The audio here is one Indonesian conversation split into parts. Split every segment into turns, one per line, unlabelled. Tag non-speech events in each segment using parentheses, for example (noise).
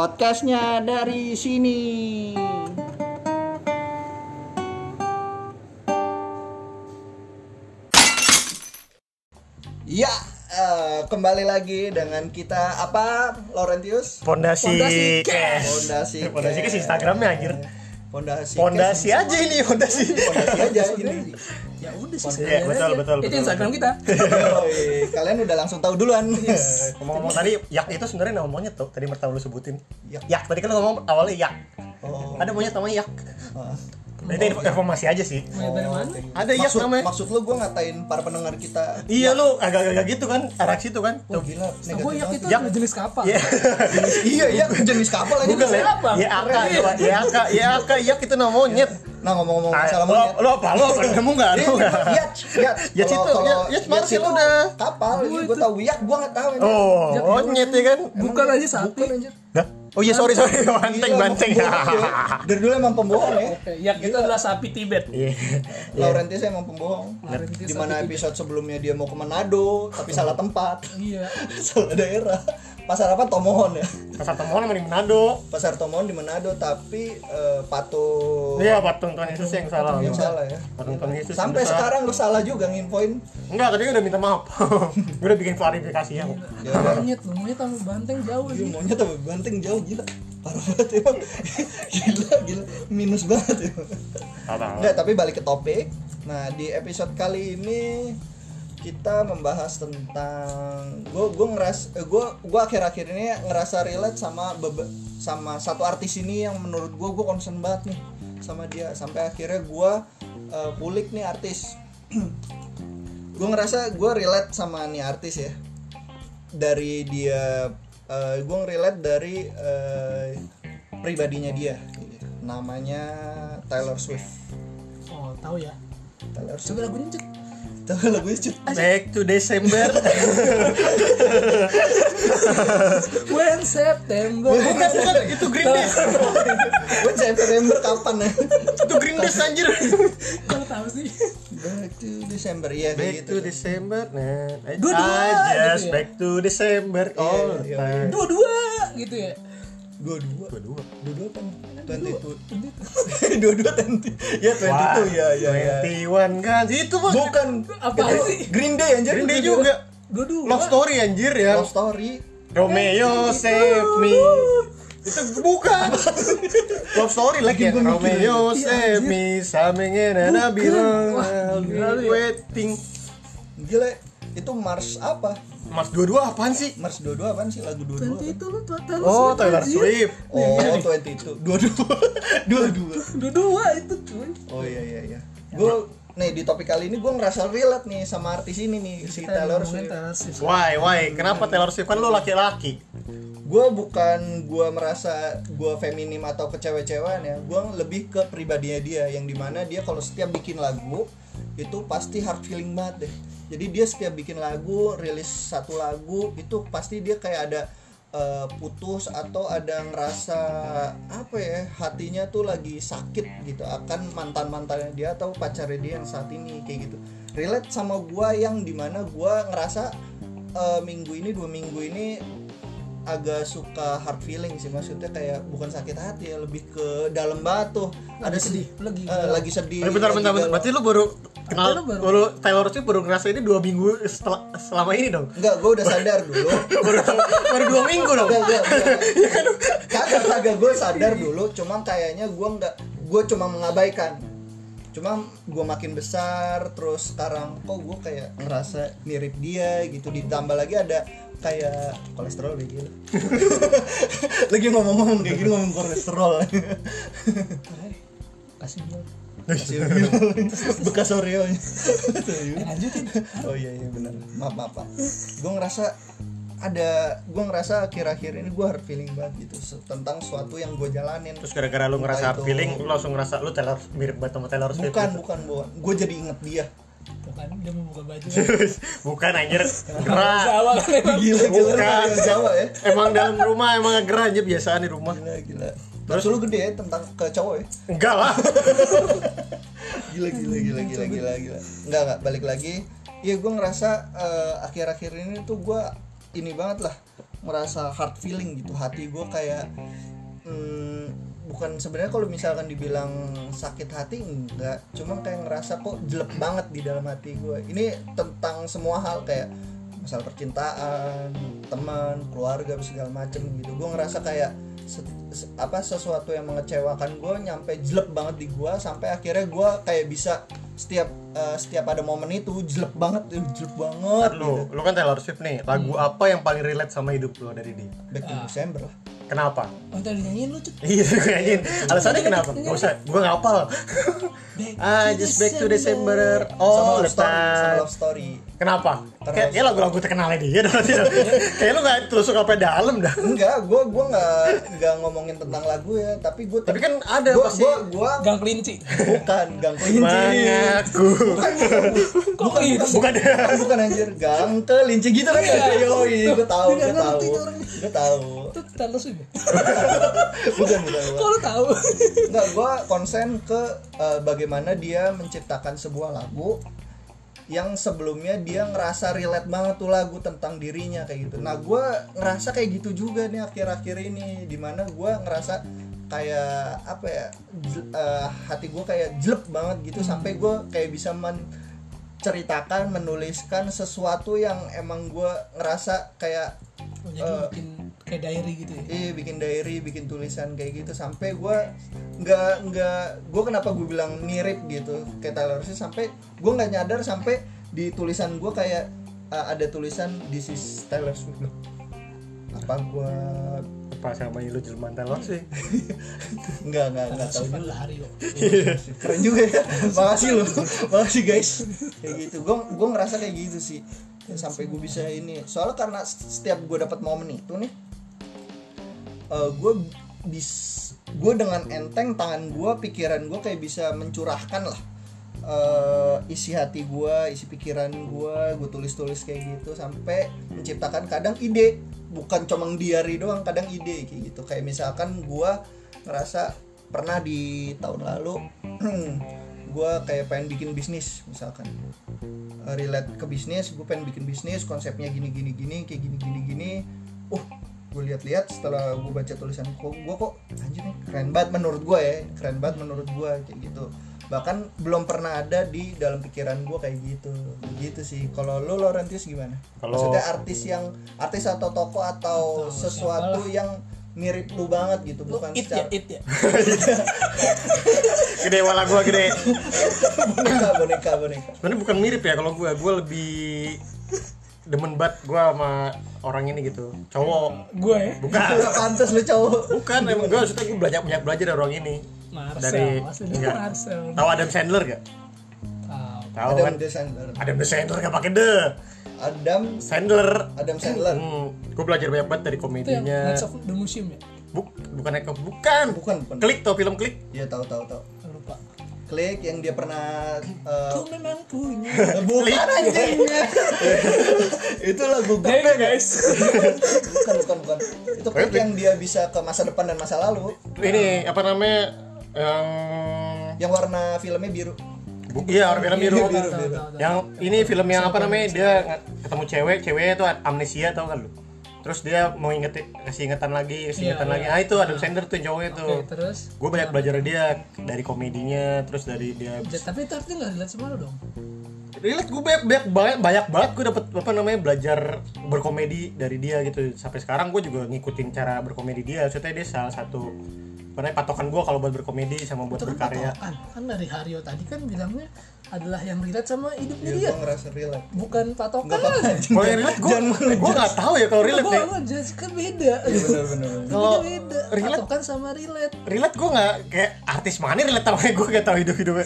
Podcastnya dari sini. Ya, eh, kembali lagi dengan kita apa, Laurentius?
Pondasi
Pondasi
cash.
Pondasi
(laughs) Pondasi
cash.
cash Instagramnya anjir.
Pondasi.
Pondasi aja ini pondasi.
Pondasi
(laughs)
aja ini.
ya udah sih
Iya,
sekalian
betul, betul,
aja. itu
betul, Oh,
Instagram kita
Yoi, Kalian udah langsung tahu duluan.
Iya. Ngomong-ngomong tadi yak itu sebenarnya namanya tuh tadi pertama lu sebutin.
Yak.
Yak. tadi kan lu ngomong awalnya yak.
(laughs) Oh.
Ada monyet namanya yak.
Ah.
Nah, Ini info- informasi aja sih.
mulai dari mana
Ada yak
oh, maksud,
namanya.
maksud lu gue ngatain para pendengar kita
Iya lu agak-agak gitu kan arah situ kan.
Oh, gila, negatif
oh yak
banget.
itu
Yak.
adalah jenis kapal
Iya.
iya iya jenis kapal aja
Google ya.
Siapa?
Ya aka, coba. ya aka, ya aka, yak itu nama monyet.
nah ngomong-ngomong
Ah, oh.
masalah
Lo
monyet
lo apa lo apa nemu enggak?
Iya, Yacht, yacht.
Yacht
Kalau-
itu,
kalau
yacht- yacht
yacht
market
itu
ya, kan udah.
Kapal, gue tahu yacht, gue nggak tahu. ini.
Oh, monyet ya kan.
bukan aja sapi
Bukan, anjir.
Hah? Oh iya sorry sorry banteng
Gila, emang
banteng.
pembohong ya. Dari dulu emang pembohong ya.
yak itu adalah sapi
(laughs)
Tibet
Iya.
Laurentius emang pembohong.
Laurentius
Di mana episode sebelumnya dia mau ke Manado, tapi salah tempat, (laughs)
iya
salah daerah. Pasar apa Tomohon ya?
Pasar Temuan sama di Manado.
Pasar Tomohon di Manado, tapi eh, patung
Iya patung Tuhan Yesus yang salah.
yang salah ya.
Patung Tuhan Yesus. yang
Sampai
salah.
sekarang lu salah juga nginfoin.
Enggak, tadi udah minta maaf. (laughs) gue udah bikin klarifikasi ya.
Ya udah.
monyet loh monyet sama banteng jauh
Gila,
nih
monyet tapi banteng jauh gila. Parah banget emang. (laughs) Gila, gila. Minus banget emang. Nggak, tapi balik ke topik. Nah, di episode kali ini kita membahas tentang gue gue ngeras eh, gue gua akhir-akhir ini ngerasa relate sama bebe- sama satu artis ini yang menurut gue gue concern banget nih sama dia sampai akhirnya gue eh, kulik nih artis (clears throat) gue ngerasa gue relate sama nih artis ya dari dia gue ngerelate dari eh, pribadinya dia namanya Taylor Swift
oh tahu ya
Taylor
coba
Swift
lagunya cek
Taylor lagunya cut
Back to December.
when September
bukan bukan itu Green Day.
gue September kapan ya
itu Green Day anjir.
kalau tahu sih
back to December iya kayak
Back to
gitu
December. Nah, I
Dua-dua,
I just
gitu ya.
back to December. Oh,
iya,
dua dua gitu ya
dua dua
dua-dua.
dua dua kan twenty (laughs) two dua dua twenty ya twenty
Wah,
two ya ya ya
21 kan. Itu mah
bukan
Apa
itu
sih?
Green Day anjir
Green Day juga.
dua dua
Love story anjir ya.
Love story
gitu.
Romeo save me. Itu bukan. Love story lagi ya.
Bikin gua mikir.
Romeo save me something in and I belong.
Iya, Wah,
I'll be
gila lu ya.
waiting.
gila itu Mars apa
Mas dua-dua apaan sih?
Mars dua dua apaan sih lagu dua dua
nanti itu lu tuh Taylor
Oh,
Swift,
Taylor
anjir.
Swift.
Oh, 22. 22. (laughs) 22.
dua dua itu cuy
Oh iya iya iya. Gue nih di topik kali ini gue ngerasa relate nih sama artis ini nih si Taylor
ngomongin
Swift.
Taylor Swift
Why, why? Kenapa Taylor Swift kan lu laki-laki?
Gue bukan gue merasa gue feminim atau kecewe-cewean ya. Gue lebih ke pribadinya dia yang dimana dia kalau setiap bikin lagu itu pasti hard feeling banget deh. Jadi dia setiap bikin lagu, rilis satu lagu itu pasti dia kayak ada eh, putus atau ada ngerasa apa ya hatinya tuh lagi sakit gitu akan mantan mantannya dia atau pacarnya dia yang saat ini kayak gitu relate sama gua yang dimana gua ngerasa eh, minggu ini dua minggu ini agak suka hard feeling sih maksudnya kayak bukan sakit hati ya lebih ke dalam batu ada sedih
lagi
eh, lagi sedih
Eh, bentar,
lagi
bentar, bentar.
galau.
Berarti lu baru kenal
Iya, Lu baru-
baru Taylor Swift baru ngerasa ini dua minggu setelah selama ini dong.
enggak gua udah sadar
(laughs)
dulu
Baru baru dua minggu dong.
Enggak, enggak,
Ya kan?
enggak. kagak kagak gue sadar dulu cuma kayaknya gue nggak gue cuma mengabaikan cuma gue makin besar terus sekarang kok gue kayak ngerasa mirip dia gitu ditambah lagi ada kayak kolesterol deh
(laughs)
gila lagi ngomong-ngomong kayak gini ngomong
(laughs)
kolesterol
kasih bilang
Hasil mil. bekas Oreo (laughs) lanjutin oh iya iya benar maaf maaf gue ngerasa ada gue ngerasa akhir-akhir ini gue hard feeling banget gitu se- tentang suatu yang gue jalanin
Terus gara-gara lu
Nah,
ngerasa
Entah itu-
feeling, lu langsung ngerasa lu Taylor mirip banget sama Taylor Swift.
bukan bukan bukan gue jadi inget dia
tuh kan dia mau buka
(laughs)
baju
(laughs) Bukan anjir, gerah.
Jawa kan emang
(laughs) gila gila
Bukan.
orang Jawa ya
Emang dalam rumah emang gerah aja biasaan di rumah.
gila gila terus lu gede ya tentang ke cowok ya
Enggak lah.
gila gila gila gila gila gila nggak nggak balik lagi iya gue ngerasa eh, akhir-akhir ini tuh gue ini banget lah merasa hard feeling gitu hati gue kayak mm, bukan sebenarnya kalau misalkan dibilang sakit hati enggak cuma kayak ngerasa kok jelek banget di dalam hati gue ini tentang semua hal kayak masalah percintaan teman keluarga segala macem gitu gue ngerasa kayak se- se- apa sesuatu yang mengecewakan gue nyampe jelek banget di gue sampai akhirnya gue kayak bisa setiap eh, setiap ada momen itu jelek banget eh, jelek banget gitu.
Lu, lu kan Taylor Swift nih. Lagu apa yang paling relate sama hidup lu dari dia?
back to December lah
Kenapa?
Untuk Oh, dinyanyiin lu cek
(laughs) Iya, gue nyanyiin. (laughs) Alasannya kenapa? Gak usah, gue gak hafal. (laughs)
Back
Ah, just back to December.
sama
Oh,
love story sama
lepas.
love story
Kenapa?
Terus.
Kayak dia lagu-lagu terkenalnya dia (laughs) dah. Kayak lu gak telusuk apa dalam dah.
enggak gue gue nggak nggak ngomongin tentang lagu ya tapi gue
Tapi kan ada
gue
pasti.
gue gue
Gang kelinci
bukan gang kelinci
Mengaku.
bukan
(laughs)
bukan
Kok kelinci?
Bukan ya.
Kan bukan anjir gang kelinci gitu kan ya yoi gue tahu
Dia
gue tahu
Iya. nggak ngerti tuh orangnya.
gue tahu (laughs)
Itu Taylor Swift ya?
bukan bukan bukan.
Kok lu tau?
Enggak, gue konsen ke eh, bagaimana dia menciptakan sebuah lagu yang sebelumnya dia ngerasa relate banget tuh lagu tentang dirinya kayak gitu. Nah, gue ngerasa kayak gitu juga nih akhir-akhir ini, dimana gue ngerasa kayak apa ya, jel- eh, hati gue kayak jelek banget gitu sampai gue kayak bisa menceritakan, menuliskan sesuatu yang emang gue ngerasa kayak
Jadi lu bikin kayak diary gitu ya
Iya bikin diary, bikin tulisan kayak gitu sampai gua nggak nggak gua kenapa gue bilang mirip gitu kayak Taylor Swift sampai gua nggak nyadar sampai di tulisan gua kayak uh, ada tulisan this is Taylor Swift Loh, apa gua (laughs)
Pas sama lu jelman Taylor Swift.
nggak nggak nggak
Taylor
tahu
Swift kan lari loh
keren juga ya makasih loh makasih guys kayak gitu gue gue ngerasa kayak gitu sih Ya, sampai gue bisa ini soalnya karena setiap gue dapat momen itu nih gue Eh, bis gue dengan enteng tangan gue pikiran gue kayak bisa mencurahkan lah eh, isi hati gue isi pikiran gue gue tulis tulis kayak gitu sampai menciptakan kadang ide bukan cuma diary doang kadang ide kayak gitu kayak misalkan gue ngerasa pernah di tahun lalu (clears throat) gue kayak pengen bikin bisnis misalkan Eh, relate ke bisnis gue pengen bikin bisnis konsepnya gini gini gini kayak gini gini gini uh gue lihat-lihat setelah gue baca tulisan kok gue kok anjir nih keren banget menurut gue ya keren banget menurut gue kayak gitu bahkan belum pernah ada di dalam pikiran gue kayak gitu gitu sih kalau lu Laurentius gimana
Kalau-
maksudnya artis yang artis atau toko atau
Atau
sesuatu yang mirip lu banget gitu
Lu
bukan
it ya,
secara (laughs)
it ya
Gede wala gua gede.
boneka boneka boneka
sebenarnya bukan mirip ya kalau gue gue lebih demen banget gue sama orang ini gitu cowok
Gue ya
bukan
Gak pantas lu cowok
bukan emang gue maksudnya gue belajar banyak belajar dari orang ini
Marcel
Dari-
Maksudnya
enggak.
Marcel
tahu Adam Sandler gak
Tau
tahu kan
Adam Sandler
Adam Sandler gak pakai the
Adam
Sandler
Adam Sandler
hmm, gue belajar banyak banget dari
Itu yang
komedinya
Knights of the Museum ya?
Buk- bukan Eko bukan
bukan bukan
klik tau film klik
ya tahu tahu tahu
Lupa
Eh. klik yang dia pernah eh,
Ku memang punya
(laughs) bukan anjing itu lagu gue
Beda guys
(laughs) bukan bukan bukan itu klik yang dia bisa ke masa depan dan masa lalu
ini apa namanya yang
yang warna filmnya biru
bu- iya orang film biru
Biru, biru.
yang ini film yang apa namanya dia nge- ketemu cewek ceweknya itu amnesia tau kan lu terus dia mau inget kasih ingetan lagi kasih
Iya,
ingetan
iya.
lagi ah itu Adam Sandler tuh yang cowoknya tuh
Oke Iya. terus
gue banyak belajar dari dia dari komedinya terus dari dia
Ja- Tapi itu artinya gak relate sama lu dong
relate gue banyak banyak banyak, banyak banget gue dapet apa namanya belajar berkomedi dari dia gitu sampai sekarang gue juga ngikutin cara berkomedi dia maksudnya dia salah satu karena patokan gue kalau buat berkomedi sama buat
Itu kan
berkarya
patokan Kan dari Hario tadi kan bilangnya Adalah yang relate sama hidupnya
ya
dia
gue ngerasa relate
Bukan patokan
Nggak apa-apa, anjing.
kalau yang relate gue
Jangan
gue nggak tahu ya kalau relate ya
Gue ngejudge kan beda
Iya, bener bener bener.
Kalau
Kalau beda
relate-
Patokan sama relate
relate gue nggak kayak artis mana relate sama gue gak tau hidup hidupnya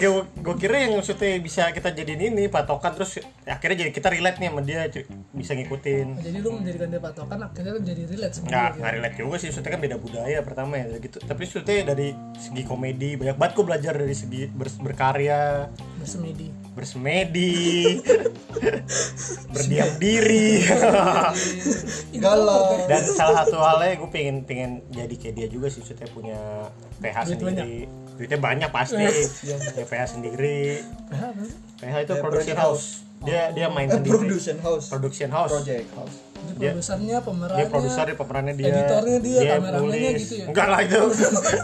gue gue kira yang maksudnya bisa kita jadiin ini patokan terus akhirnya jadi kita relate nih sama dia cuy. bisa ngikutin
Jadi lu menjadikan dia patokan Akhirnya lu jadi relate sama
nggak
dia gitu.
nggak relate juga sih maksudnya kan beda budaya pertama ya gitu tapi maksudnya dari segi komedi banyak banget gue belajar dari segi ber- berkarya
Bersemedi
bersemedi berdiam diri (laughs)
galau
dan salah satu halnya gue pengen pengen jadi kayak dia juga sih maksudnya punya PH
Duit
sendiri duitnya banyak pasti
Iya.
ya PH sendiri
Paham?
Iya,
PH itu production house dia dia main sendiri
production house
production house
Eh, project house
Dia
Dia-
produsernya, pemerannya.
dia produser dia pemerannya dia
Editornya dia, kameramennya gitu ya?
enggak lah
(laughs)
itu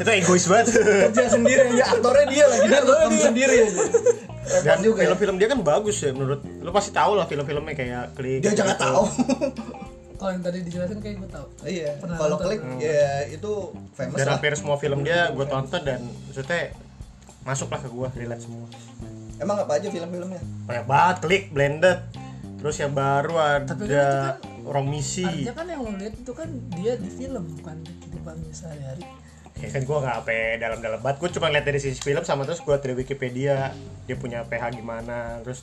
itu egois banget
kerja sendiri aja aktornya dia lagi dia rekam sendiri aja repot
dan
juga ya.
film-film dia kan bagus ya menurut lu pasti tahu lah film-filmnya kayak klik
dia jangan
gitu.
(laughs) tahu
Kalau yang tadi dijelasin kayak gue tau.
iya
Pernah
kalau
nonton.
klik ya itu famous
dan
lah
hampir semua film dia gue tonton dan maksudnya masuklah ke gue relate semua
emang apa aja film-filmnya
banyak banget klik blended terus yang baru
Tapi kan itu
ada
kan-
orang misi
Artinya kan yang lo lihat itu kan dia di film bukan di kehidupannya sehari-hari.
ya kan gue nggak apa dalam-dalam banget gue cuma lihat dari sisi film sama terus gue dari Wikipedia dia punya PH gimana terus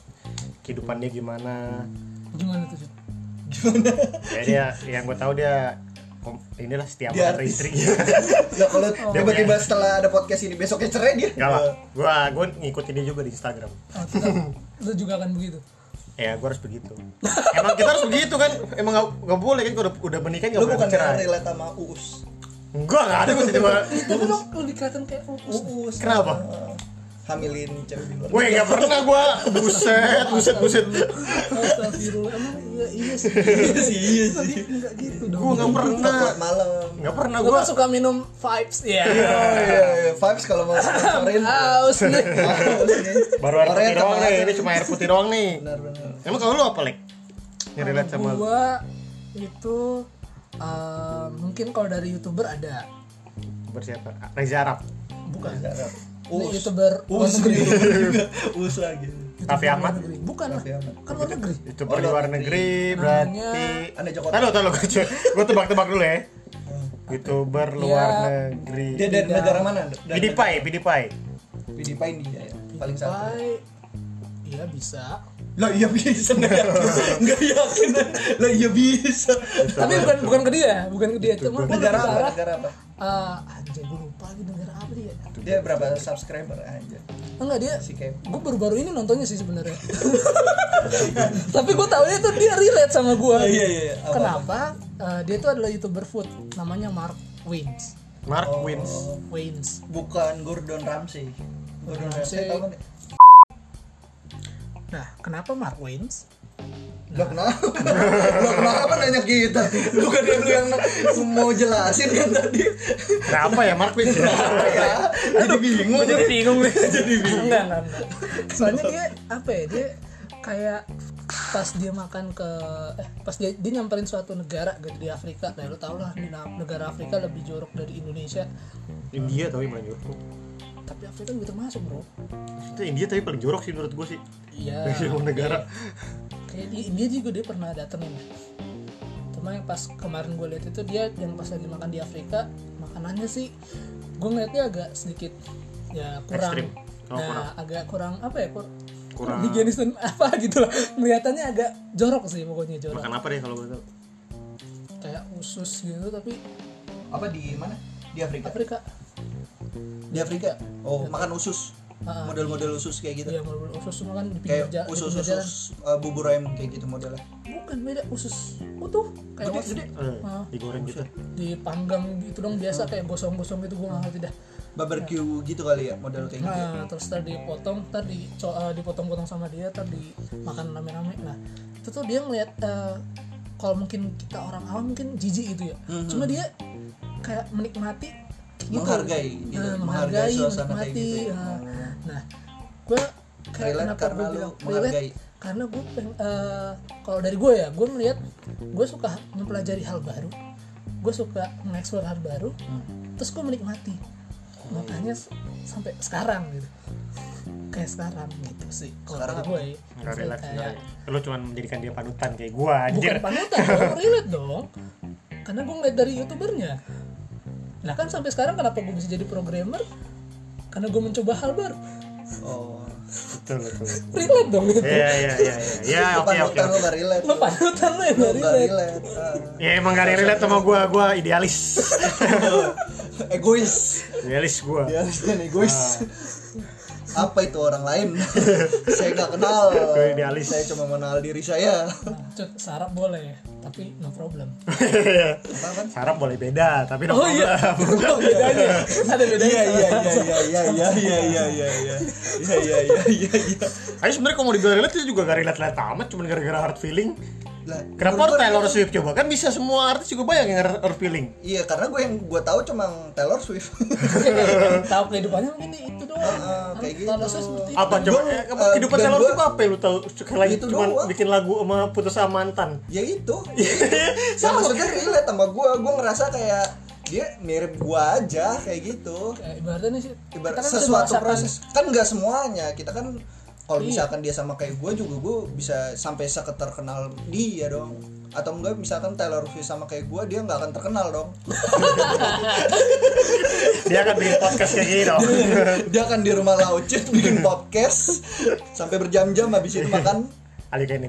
kehidupan dia gimana
Gimana tuh? Jud?
ya dia yang gue tahu dia kom- inilah setiap
Dia
atau
artis.
istrinya
Lah kalau tiba-tiba setelah ada podcast ini besoknya cerai dia
Gak lah, gue gue ngikutin dia juga di Instagram.
Oh, kita, lo juga akan begitu.
Ya gue harus begitu. Emang kita harus begitu kan? Emang gak, gak boleh kan? Kalau udah, udah menikah gak
lu
boleh
bukan yang
cerai.
relate sama Uus
Enggak, gak ada gue tiba.
Tapi lo lo dikatakan kayak "Oh, fokus.
Uus
Kenapa?
eh, hamilin cewek di luar
Weh gak pernah gue. Buset, buset, buset.
Astagfirullah. Emang iya iya sih.
iya sih iya sih
Tapi enggak gitu dong.
Gue gak pernah.
Kuat malam
Gak pernah
Lo
gue.
kan suka minum vibes ya.
Oh, iya, iya. Vibes kalau mau sponsorin
Haus nih.
(laughs) Haus nih.
Baru air
Orangnya
putih doang
kemana?
nih. Ini cuma air putih doang nih.
Benar-benar.
Emang kalau lu apa lek? Yang relate sama
Kalau
lu.
gua itu eh, mungkin kalau dari youtuber ada
Bersiapa? Reza Arab.
bukan
Nah,
ini
Uus
youtuber luar
Uus
negeri
juga. Uus lagi
YouTuber
Raffi
luar
Ahmad?
negeri. bukan lah
Raffi Ahmad.
kan luar negeri
Youtuber
Oh,
di luar
luar
negeri
Namanya-
berarti.
Anda Joko Ah,
Tahu tahu gue gue tebak-tebak dulu ya. Youtuber luar negeri.
iya. Dia dari negara mana? Dari
PewDiePie, PewDiePie.
PewDiePie India ya Paling satu
Pai iya bisa
Lah iya (laughs) bisa Nggak yakin. Nggak yakin Lah iya bisa
tapi bukan bukan ke dia bukan ke dia cuma gua
Negara apa?
bicara,
Negara apa?
eh, anjir gue lupa lagi negara apa dia
Dia berapa subscriber aja
enggak dia
Si Kem
gue baru-baru ini nontonnya sih sebenarnya (laughs) tapi gue taunya tuh dia relate sama gue
Iya iya iya Apa?
kenapa Eh, dia tuh adalah youtuber food namanya Mark Wins
Mark
Oh.
Wins.
Wins
Bukan Gordon Ramsay Gordon Ramsay
Ramsay.
tau kan
Nah, kenapa Mark Waynes?
Lah kenapa? Lah kenapa nanya kita? Bukan lu yang mau jelasin kan tadi.
Kenapa ya Mark
(laughs)
Wins?
Ya, jadi bingung.
Jadi bingung nih. Jadi bingung. (laughs) Enggak, enggak, enggak. Soalnya dia apa ya? Dia kayak pas dia makan ke eh pas dia, dia nyamperin suatu negara gitu di Afrika. Nah, lu tau lah di na- negara Afrika lebih jorok dari Indonesia.
India tapi paling jorok.
Tapi Afrika juga termasuk, Bro.
Itu India tapi paling jorok sih menurut gue sih.
Eh.
Iya.
Dari semua negara.
Kayak di India juga dia pernah datengin. Cuma yang pas kemarin gue lihat itu dia yang pas lagi makan di Afrika, makanannya sih gue ngeliatnya agak sedikit ya kurang
Ekstrim. Oh,
nah,
kurang.
agak kurang apa ya kur
Kurang.
higienis dan (laughs) apa gitu loh kelihatannya agak jorok sih pokoknya jorok
Makan apa deh kalau gue tau?
kayak usus gitu tapi
Apa di mana? Di Afrika.
Afrika
Di Afrika. Oh, makan usus.
Ah.
Model-model usus kayak gitu.
dia mau Iya, usus semua kan di
Kayak
pinggir ja- di
usus
pinggir jalan.
usus eh, bubur ayam kayak gitu modelnya.
bukan beda usus utuh kayak
Gede,
usus
gede.
Eh,
Oh.
digoreng gitu.
dipanggang gitu dong biasa kayak gosong-gosong gitu gue nggak ngerti dah
Barbecue gitu kali ya model kayak gitu.
Nah, terus tadi dipotong, tadi ah, dipotong-potong sama dia, tadi makan rame-rame. Nah, itu tuh dia ngeliat eh, kalau mungkin kita orang awam mungkin jijik gitu ya.
Hmm.
Cuma dia kayak menikmati gitu.
Menghargai gitu, menghargai
Nah, menghargai,
suasana kayak
menikmati.
gitu ya.
Nah, nah, gue kayak
Relate
kenapa
karena
gue
lu
bilang
menghargai.
relate karena gue kalau dari gue ya, gue melihat gue suka mempelajari hal baru. Gue suka mengeksplor hal baru.
Hmm.
Terus gue menikmati. Makanya s- sampai sekarang gitu. Kayak sekarang gitu sih. Kalau
Sekarang
dari gue ya.
Gak
Maksudnya
relate
kayak-
sebenernya. Lu cuma menjadikan dia panutan kayak gue anjir.
bukan panutan dong, relate dong karena gue ngeliat dari youtubernya nah kan sampai sekarang kenapa gue bisa jadi programmer karena gue mencoba hal baru
Oh.
Betul, betul.
relate dong gitu. itu
(laughs) Iya, iya, iya. iya. Ya, oke, oke.
Panutan lu gak relate.
lo panutan lo yang gak
Lu gak
relate
relate. Ah.
Ya emang gak ada yang relate sama gue, gue
(laughs)
idealis.
Egois.
idealis gue.
Ya, harusnya egois. Apa itu orang (laughs) lain? saya nggak kenal.
Gue idealis.
Saya cuma mengenal diri saya.
nah, cut sarap boleh tapi no problem
(laughs)
Apa kan?
Sarap boleh beda, tapi no
oh iya
problem.
(laughs)
(laughs) Oh, bedanya ada bedanya
(laughs) Iya iya
(laughs)
iya iya iya iya iya iya iya iya iya iya iya.
Ayo sebenarnya kalau mau dibilang relate itu juga gak relate relate amat, cuma gara-gara hard feeling.
Lah,
Kenapa
menurut
harus
gua-
Taylor Swift coba? Kan bisa semua artis juga banyak yang nge- revealing.
Iya, karena gue yang gue tahu cuma Taylor Swift. (laughs)
tahu kehidupannya mungkin itu doang
Heeh, kayak gitu.
Tahu seperti itu.
Apa
Dan
coba?
gua,
eh,
eh,
kehidupan
dan
Taylor
gua-
Swift apa ya lu tahu? Sekali lagi
Itu
cuma
doang.
bikin lagu sama putus sama mantan.
ya (laughs) itu. Sama maksudnya relate sama gue, gue ngerasa kayak dia mirip gue aja kayak gitu.
Kayak ibaratnya nih sih,
Ibarat
kita kan bisa
sesuatu
merasakan-
proses kan nggak semuanya kita kan kalau
Iya.
misalkan dia sama kayak gue juga gue bisa sampai seketer kenal dia dong atau enggak misalkan Taylor Swift sama kayak gue dia nggak akan terkenal
(laughs)
dong
Dia akan bikin podcast kayak gini dong.
dia akan di rumah laucet bikin podcast sampai berjam-jam habis itu makan
Ali kayak ini.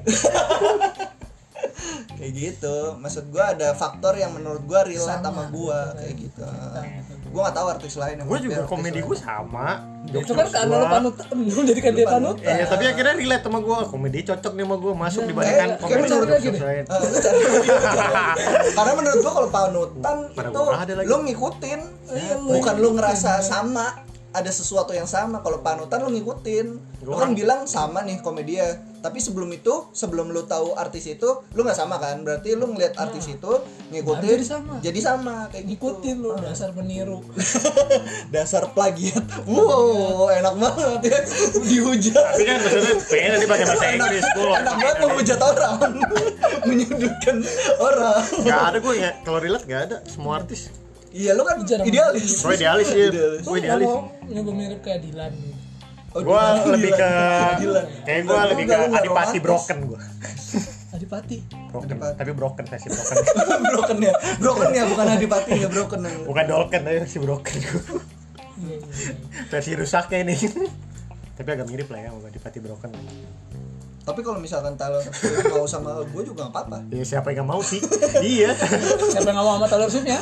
kayak gitu maksud gue ada faktor yang menurut gue relate sama gue kayak gitu gue nggak tahu artis lain yang
Gue
tapi
juga
artis
komedi
lain.
gue sama.
itu kan karena lu panutan (laughs) lu jadikan dia panutan
Iya, tapi akhirnya relate sama gue. Komedi cocok nih sama gue masuk
Iya,
dibandingkan
kayak
komedi
menurut
Jokes
gua gini.
lain.
Eh, lu cari- (laughs) karena menurut gua kalau panutan
Pada
itu
murah ada lagi.
lu ngikutin
Iya,
Iya, bukan lu ngerasa sama ada sesuatu yang sama kalau panutan lu ngikutin lu kan
Orang-
bilang sama nih komedia tapi sebelum itu sebelum lu tahu artis itu lu nggak sama kan berarti lu ngeliat artis itu ngikutin
Iya. jadi sama.
jadi sama kayak
ngikutin
gitu.
lu dasar peniru
(laughs) dasar plagiat wow enak banget ya (laughs) dihujat
Tapi kan maksudnya pengen tadi pakai bahasa Inggris gue.
enak banget menghujat orang (laughs) menyudutkan orang
Gak ada gue ya. Kalau relate gak ada. Semua artis.
Iya lu kan
Jarang
idealis.
Gue idealis iya. sih.
Idealis.
Gue
lu nggak
idealis.
mau nyoba mirip kayak Dilan gitu.
Oh,
Gue
gila.
lebih ke
Gila.
kayak gue
Lu
lebih ke
nggak- lu nggak
adipati
romantis.
broken gue.
Adipati
Broken.
Adipati.
Tapi broken versi broken.
(laughs) broken ya. Broken ya bukan adipati ya broken. ya.
Bukan dolken tapi versi broken gue.
Iya, iya, iya.
Versi rusaknya ini. tapi agak mirip lah ya sama adipati broken.
Tapi kalau misalkan Taylor Swift mau sama gue juga gak apa-apa. (laughs)
Ya siapa yang gak mau sih? Iya.
siapa yang ngomong sama Taylor Swift ya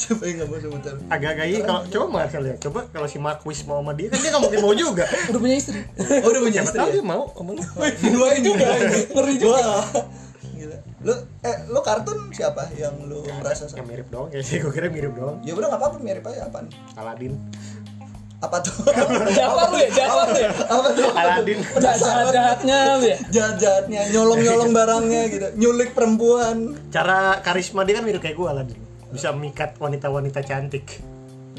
Siapa yang gak mau sama Taylor?
Agak-agak iya kalau coba Marcel ya. Coba kalau si Marquis mau sama dia kan dia gak mungkin mau juga.
udah punya (laughs) istri
Oh udah punya
Siapa
istri
tahu
ya?
dia mau sama lu.
Wih, Duain juga.
(laughs)
Ngeri juga.
Wah. Gila. Lu eh lu kartun siapa yang lu merasa
Yang
sama?
mirip doang ya sih, gue kira mirip doang
Ya udah gak apa-apa mirip aja apaan?
Aladin
Apa tuh? (laughs)
Jafar lu ya Jafar lu ya
apa tuh?
Aladin
jahat jahatnya lu ya
Jahat-jahatnya, nyolong-nyolong barangnya gitu. Nyulik perempuan.
Cara karisma dia kan mirip kayak gue Aladin Bisa memikat wanita-wanita cantik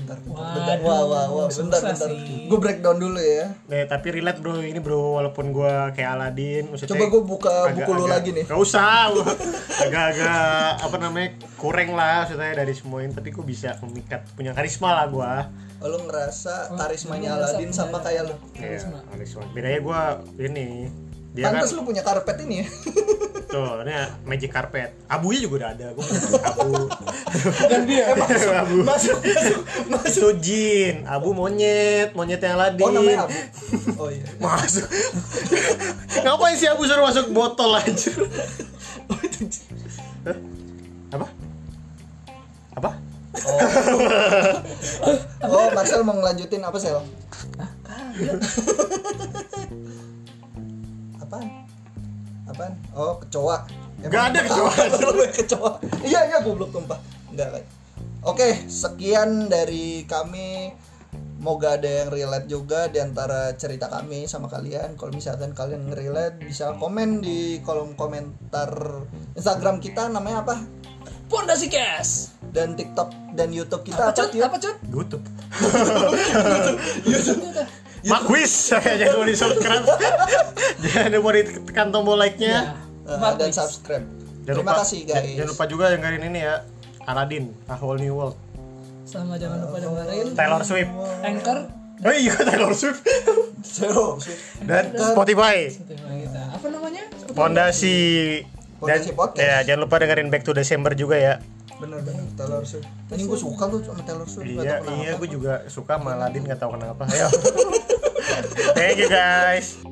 bentar
Waduh,
bentar wah wah wah bentar
susah
bentar
sih.
gue breakdown dulu ya
Nah, tapi relate bro, ini bro walaupun gue kayak Aladin maksudnya
coba gue buka buku lu
agak-
lagi nih
Gak usah Agak-agak apa namanya kurang lah maksudnya dari semua ini Tapi gue bisa memikat, punya karisma lah gue
Oh, lu ngerasa
Oh,
karismanya
lu ngerasa
Aladin sama
punya-
kayak lu
Iya,
Karisma.
karisma Bedanya gue ini dia kan
pantas lu punya karpet ini ya
tuh ini magic carpet abunya juga udah ada gue abu
dan
(laughs)
dia
(laughs) abu
masuk masuk
itu jin abu monyet monyet yang Aladin
oh namanya
(laughs)
apa oh iya
masuk (laughs) ngapain sih abu suruh masuk botol aja
(laughs) oh itu jin.
Hah? apa apa
oh oh Marcel mau ngelanjutin apa Sel apaan apaan oh kecoa
Nggak ada kecoa.
kecoa kecoa iya iya goblok tumpah enggak kan oke sekian dari kami Moga ada yang relate juga di antara cerita kami sama kalian. Kalau misalkan kalian relate bisa komen di kolom komentar Instagram kita namanya apa?
pondasi cash
Dan TikTok dan YouTube kita
apa
apa, Eh,
cut
Tio?
apa cut
YouTube
Cut, cut, cut.
Makwis kayaknya gue di
(laughs)
subscribe jangan lupa ditekan tombol like
ya
nya
Eh, dan
Marquis.
subscribe.
jangan
Terima
lupa
kasih guys.
jangan
(laughs)
lupa juga dengerin ini ya Aladdin A Whole New World
sama jangan lupa dengerin
Taylor Swift
anchor
oh iya (laughs) Taylor Swift
Zero.
dan Spotify
Spotify gitu kita apa namanya
Pondasi dan
Pondasi podcast.
ya jangan lupa dengerin Back to December juga ya.
bener bener Taylor Swift ini gue suka tuh sama Taylor Swift nggak
Iya,
tahu kenapa.
iya gue juga suka sama Aladin nggak tahu kenapa. Ayo. Thank you guys.